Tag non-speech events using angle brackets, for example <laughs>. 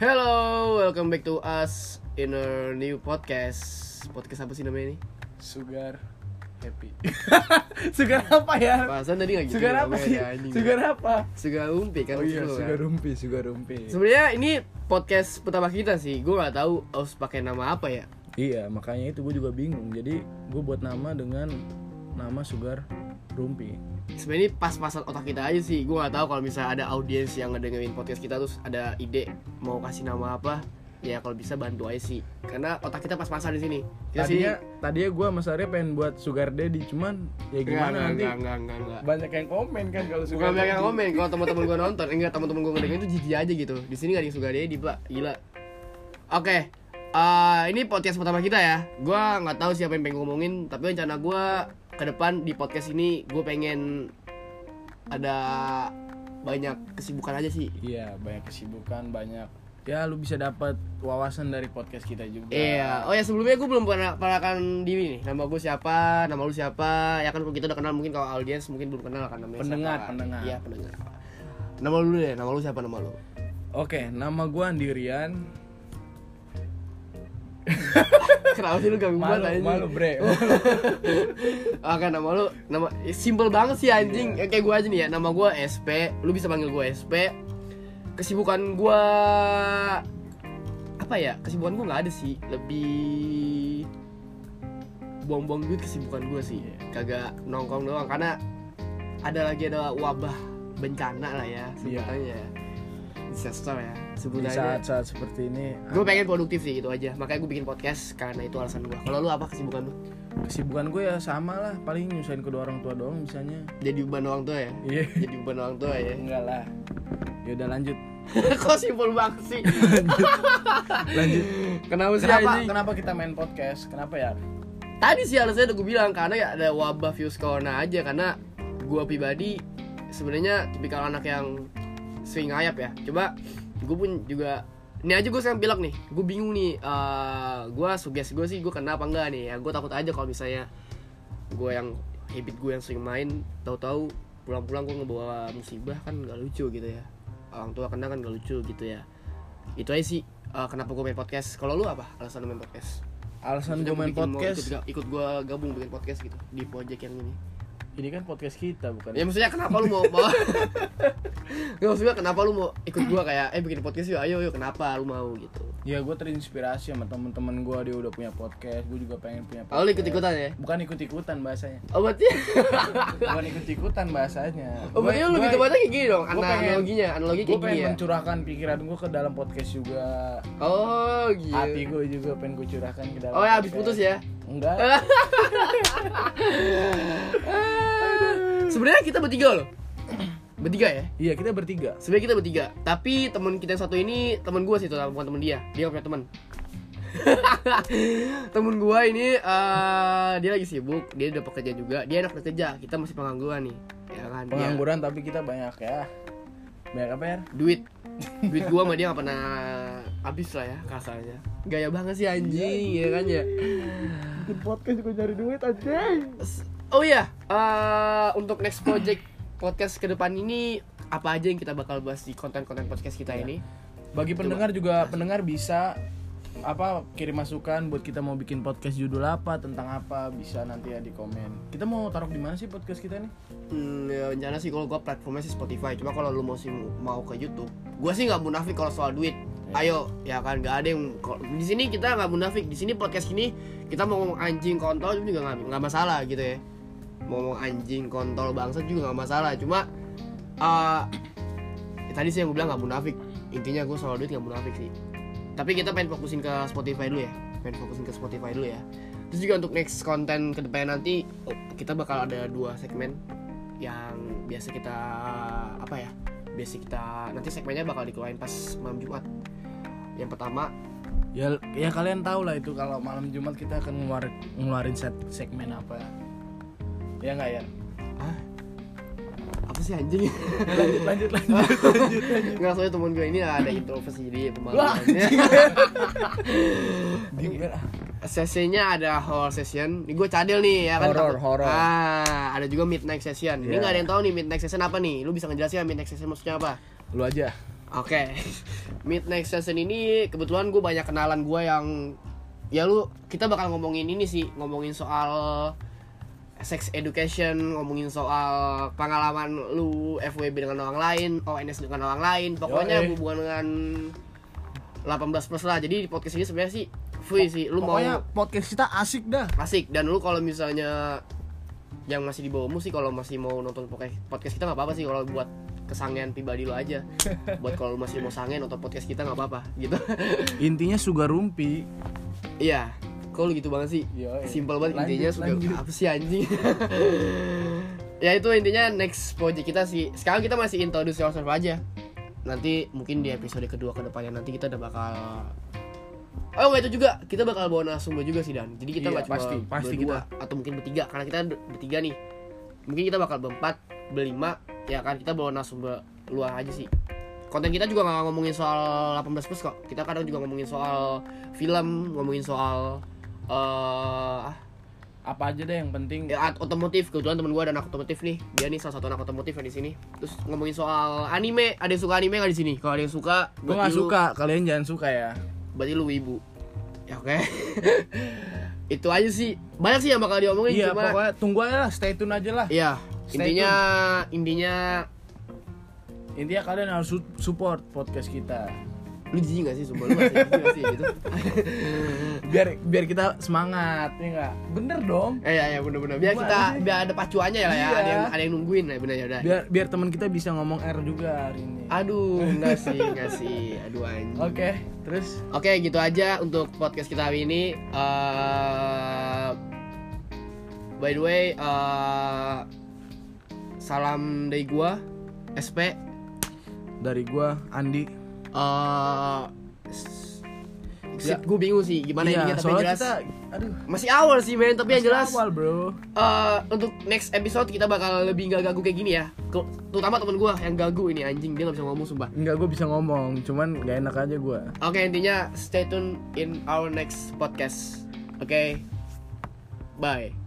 Hello, welcome back to us in our new podcast. Podcast apa sih namanya ini? Sugar happy. <laughs> sugar apa ya? Bahasan tadi nggak gitu. Sugar apa namanya, sih? ada anjing. Sugar apa? Sugar umpi kan. Oh iya, maksud lo sugar kan? rumpi, sugar rumpi. Sebenarnya ini podcast pertama kita sih. Gue nggak tahu harus pakai nama apa ya. Iya, makanya itu gue juga bingung. Jadi gue buat nama dengan nama sugar rumpi. Sebenarnya ini pas-pasan otak kita aja sih. Gue nggak tahu kalau misalnya ada audiens yang ngedengerin podcast kita terus ada ide mau kasih nama apa. Ya kalau bisa bantu aja sih. Karena otak kita pas-pasan di sini. Kita sini Tadinya, tadinya gue sama Sarya pengen buat sugar daddy, cuman ya gimana Nggak, nanti nggak, nggak, nggak, nggak. banyak yang komen kan kalau sugar. Bukan banyak yang daddy. komen kalau teman-teman gue nonton, eh, enggak teman-teman gue ngedengerin itu jijik aja gitu. Di sini gak ada yang suka dia di pak, gila. Oke, eh, ini podcast pertama kita ya. Gue nggak tahu siapa yang pengen gua ngomongin, tapi rencana gue ke depan di podcast ini gue pengen ada banyak kesibukan aja sih. Iya, banyak kesibukan, banyak. Ya lu bisa dapat wawasan dari podcast kita juga. Iya. Oh ya sebelumnya gue belum pernah perkenalkan diri nih. Nama gue siapa, nama lu siapa. Ya kan kalau kita udah kenal mungkin kalau audiens mungkin belum kenal kan namanya. Pendengar, siapa. pendengar. Iya pendengar. Nama lu deh, nama lu siapa nama lu? Oke, nama gue Andirian. Kenapa sih lu ganggu Malu, banget anjing? malu bre. <laughs> Oke nama lu nama eh, simple banget sih anjing. Eh, Iya. Kayak gue aja nih ya. Nama gue SP. Lu bisa panggil gue SP. Kesibukan gue apa ya? Kesibukan gue nggak ada sih. Lebih buang-buang duit kesibukan gue sih. Iya. Kagak nongkrong doang karena ada lagi ada wabah bencana lah ya Iya. sebutannya. Disaster ya Di sebutannya. saat-saat seperti ini, Gue pengen produktif sih gitu aja. Makanya gue bikin podcast karena itu alasan gue. Kalau lu apa kesibukan lu? kesibukan gue ya sama lah, paling nyusahin kedua orang tua doang misalnya. Jadi beban orang tua ya? Iya. Jadi beban orang tua <laughs> ya? Enggak lah. Ya udah lanjut. Kok simpel banget sih? Lanjut. Kenapa sih Kenapa anjing? kenapa kita main podcast? Kenapa ya? Tadi sih alasannya udah gue bilang karena ya ada wabah virus corona aja karena gue pribadi sebenarnya tipikal anak yang sering ngayap ya. Coba gue pun juga ini aja gue sekarang bilang nih, gue bingung nih, eh gue sugesti gue sih gue kena apa enggak nih ya, gue takut aja kalau misalnya gue yang habit gue yang sering main, tahu-tahu pulang-pulang gue ngebawa musibah kan nggak lucu gitu ya, orang tua kena kan nggak lucu gitu ya, itu aja sih eh, kenapa gue main podcast, kalau lu apa alasan lu main podcast? Alasan Maksudnya gue main bikin mau podcast. ikut, ikut gue gabung bikin podcast gitu di project yang ini Ini kan podcast kita ya bukan. maksudnya kenapa lu mau <laughs> mau nggak maksudnya kenapa lu mau ikut gue kayak eh bikin podcast yuk ayo yuk kenapa lu mau gitu Ya gue terinspirasi sama temen-temen gue dia udah punya podcast, gue juga pengen punya podcast. kalau lu ikut ikutan ya Bukan ikut-ikutan bahasanya. oh berarti <laughs> Bukan ikut-ikutan bahasanya. oh berarti lu Gue- lebih gue- tepatnya kayak gini dong gua ana pengen- analoginya analogi gue kayak pengen gini ya mencurahkan pikiran gue ke dalam podcast juga oh hati gitu gue juga pengen gue curahkan ke dalam oh ya habis podcast. putus <laughs> ya enggak sebenarnya kita bertiga loh bertiga ya iya kita bertiga sebenarnya kita bertiga tapi teman kita yang satu ini teman gue sih itu bukan teman dia dia nggak punya teman <laughs> temen gue ini eh, dia lagi sibuk dia udah pekerja juga dia enak kerja kita masih pengangguran nih ya kan dia- pengangguran tapi kita banyak ya banyak apa ya duit duit gue sama dia nggak pernah habis lah ya kasarnya gaya banget sih anjing ya kan ya bikin podcast gue nyari duit aja S- oh iya eh, untuk next project podcast ke depan ini apa aja yang kita bakal bahas di konten-konten podcast kita ini bagi pendengar juga pendengar bisa apa kirim masukan buat kita mau bikin podcast judul apa tentang apa bisa nanti ya di komen kita mau taruh di mana sih podcast kita nih Hmm, ya, rencana sih kalau gua platformnya sih Spotify. Cuma kalau lu mau sih mau ke YouTube, gua sih nggak munafik kalau soal duit. Ayo, ya kan nggak ada yang kalau- di sini kita nggak munafik. Di sini podcast ini kita mau ngomong anjing kontol juga nggak nggak masalah gitu ya. Mau ngomong anjing kontol bangsa juga nggak masalah. Cuma eh ya tadi sih yang gue bilang nggak munafik. Intinya gue soal duit nggak munafik sih. Tapi kita pengen fokusin ke Spotify dulu ya. Pengen fokusin ke Spotify dulu ya. Terus juga untuk next konten ke depan nanti oh, kita bakal ada dua segmen yang biasa kita apa ya? Biasa kita nanti segmennya bakal dikeluarin pas malam Jumat. Yang pertama ya ya kalian tahu lah itu kalau malam jumat kita akan ngeluarin ngeluarin set- segmen apa ya nggak ya ah apa sih anjing? <laughs> lanjut lanjut <laughs> lanjut lanjut lanjut Nggak soalnya temen gue ini ada introvert jadi Wah, pemalu. Di- Iya. ah. sesinya ada horror session. Ini gue cadel nih ya kan. Horror, takut- horror. Ah, ada juga midnight session. Ini Iya. nggak ada yang tahu nih midnight session apa nih. Lu bisa ngejelasin nggak midnight session maksudnya apa? lu aja Oke, <laughs> mid next session ini kebetulan gue banyak kenalan gue yang ya lu kita bakal ngomongin ini sih ngomongin soal sex education ngomongin soal pengalaman lu FWB dengan orang lain ONS dengan orang lain pokoknya Yoi. hubungan dengan 18 plus lah jadi di podcast ini sebenarnya sih free sih lu Pokoknya mau podcast kita asik dah. asik dan lu kalau misalnya yang masih di bawahmu sih kalau masih mau nonton podcast podcast kita nggak apa-apa sih kalau buat kesangean pribadi lu <laughs> aja buat kalau lu masih mau sangean nonton podcast kita nggak apa-apa gitu <laughs> Intinya sugar rumpi. iya kok lu gitu banget sih Yoi. simpel banget Iya, Lanjut, intinya sudah lanjut. apa sih anjing <laughs> ya itu intinya next project kita sih sekarang kita masih introduce yourself aja nanti mungkin di episode kedua kedepannya nanti kita udah bakal Oh nggak itu juga kita bakal bawa narasumber juga sih dan jadi kita Iya, nggak cuma pasti, pasti berdua atau mungkin bertiga karena kita ber- bertiga nih mungkin kita bakal berempat berlima ya kan kita bawa narasumber luar aja sih konten kita juga nggak ngomongin soal 18 plus kok kita kadang juga ngomongin soal film ngomongin soal eh Apa aja deh yang penting. ya, art otomotif kebetulan temen gue ada anak otomotif nih dia nih salah satu anak otomotif yang di sini terus ngomongin soal anime ada yang suka anime nggak di sini kalau ada yang suka Gue berarti nggak lu- suka, kalian jangan suka ya. berarti lu ibu ya oke <laughs> itu aja sih banyak sih yang bakal diomongin Iya, cuma pokoknya tunggu aja lah, stay tune aja lah. Iya, Stay intinya intinya Intinya kalian harus su- support podcast kita. lu jijik gak sih sumpah lu masih jijik gak sih <laughs> gitu Biar biar kita semangat, ya enggak? Bener dong. eh ya ya bener-bener biar Gimana kita sih? biar ada pacuannya ya lah ya Iya. ada yang ada yang nungguin ya bener ya udah Biar biar teman kita bisa ngomong R juga Ah. hari ini. aduh enggak sih enggak sih aduh anjing Oke, terus Oke, gitu aja untuk podcast kita hari ini. Eh, by the way, eh, salam dari gua Eh, SP. dari gua Andi. Eh, s- sip, gua bingung sih gimana ini Ya. Iya, tapi yang soalnya jelas. kita aduh. Masih awal sih men, tapi yang masih jelas awal, Bro. eh, untuk next episode kita bakal lebih nggak gagu kayak gini ya. Ke- Terutama temen gua yang gagu ini anjing dia nggak bisa ngomong sumpah. Enggak gua bisa ngomong, cuman gak enak aja gua. Oke, intinya stay tune in our next podcast. Oke. Bye.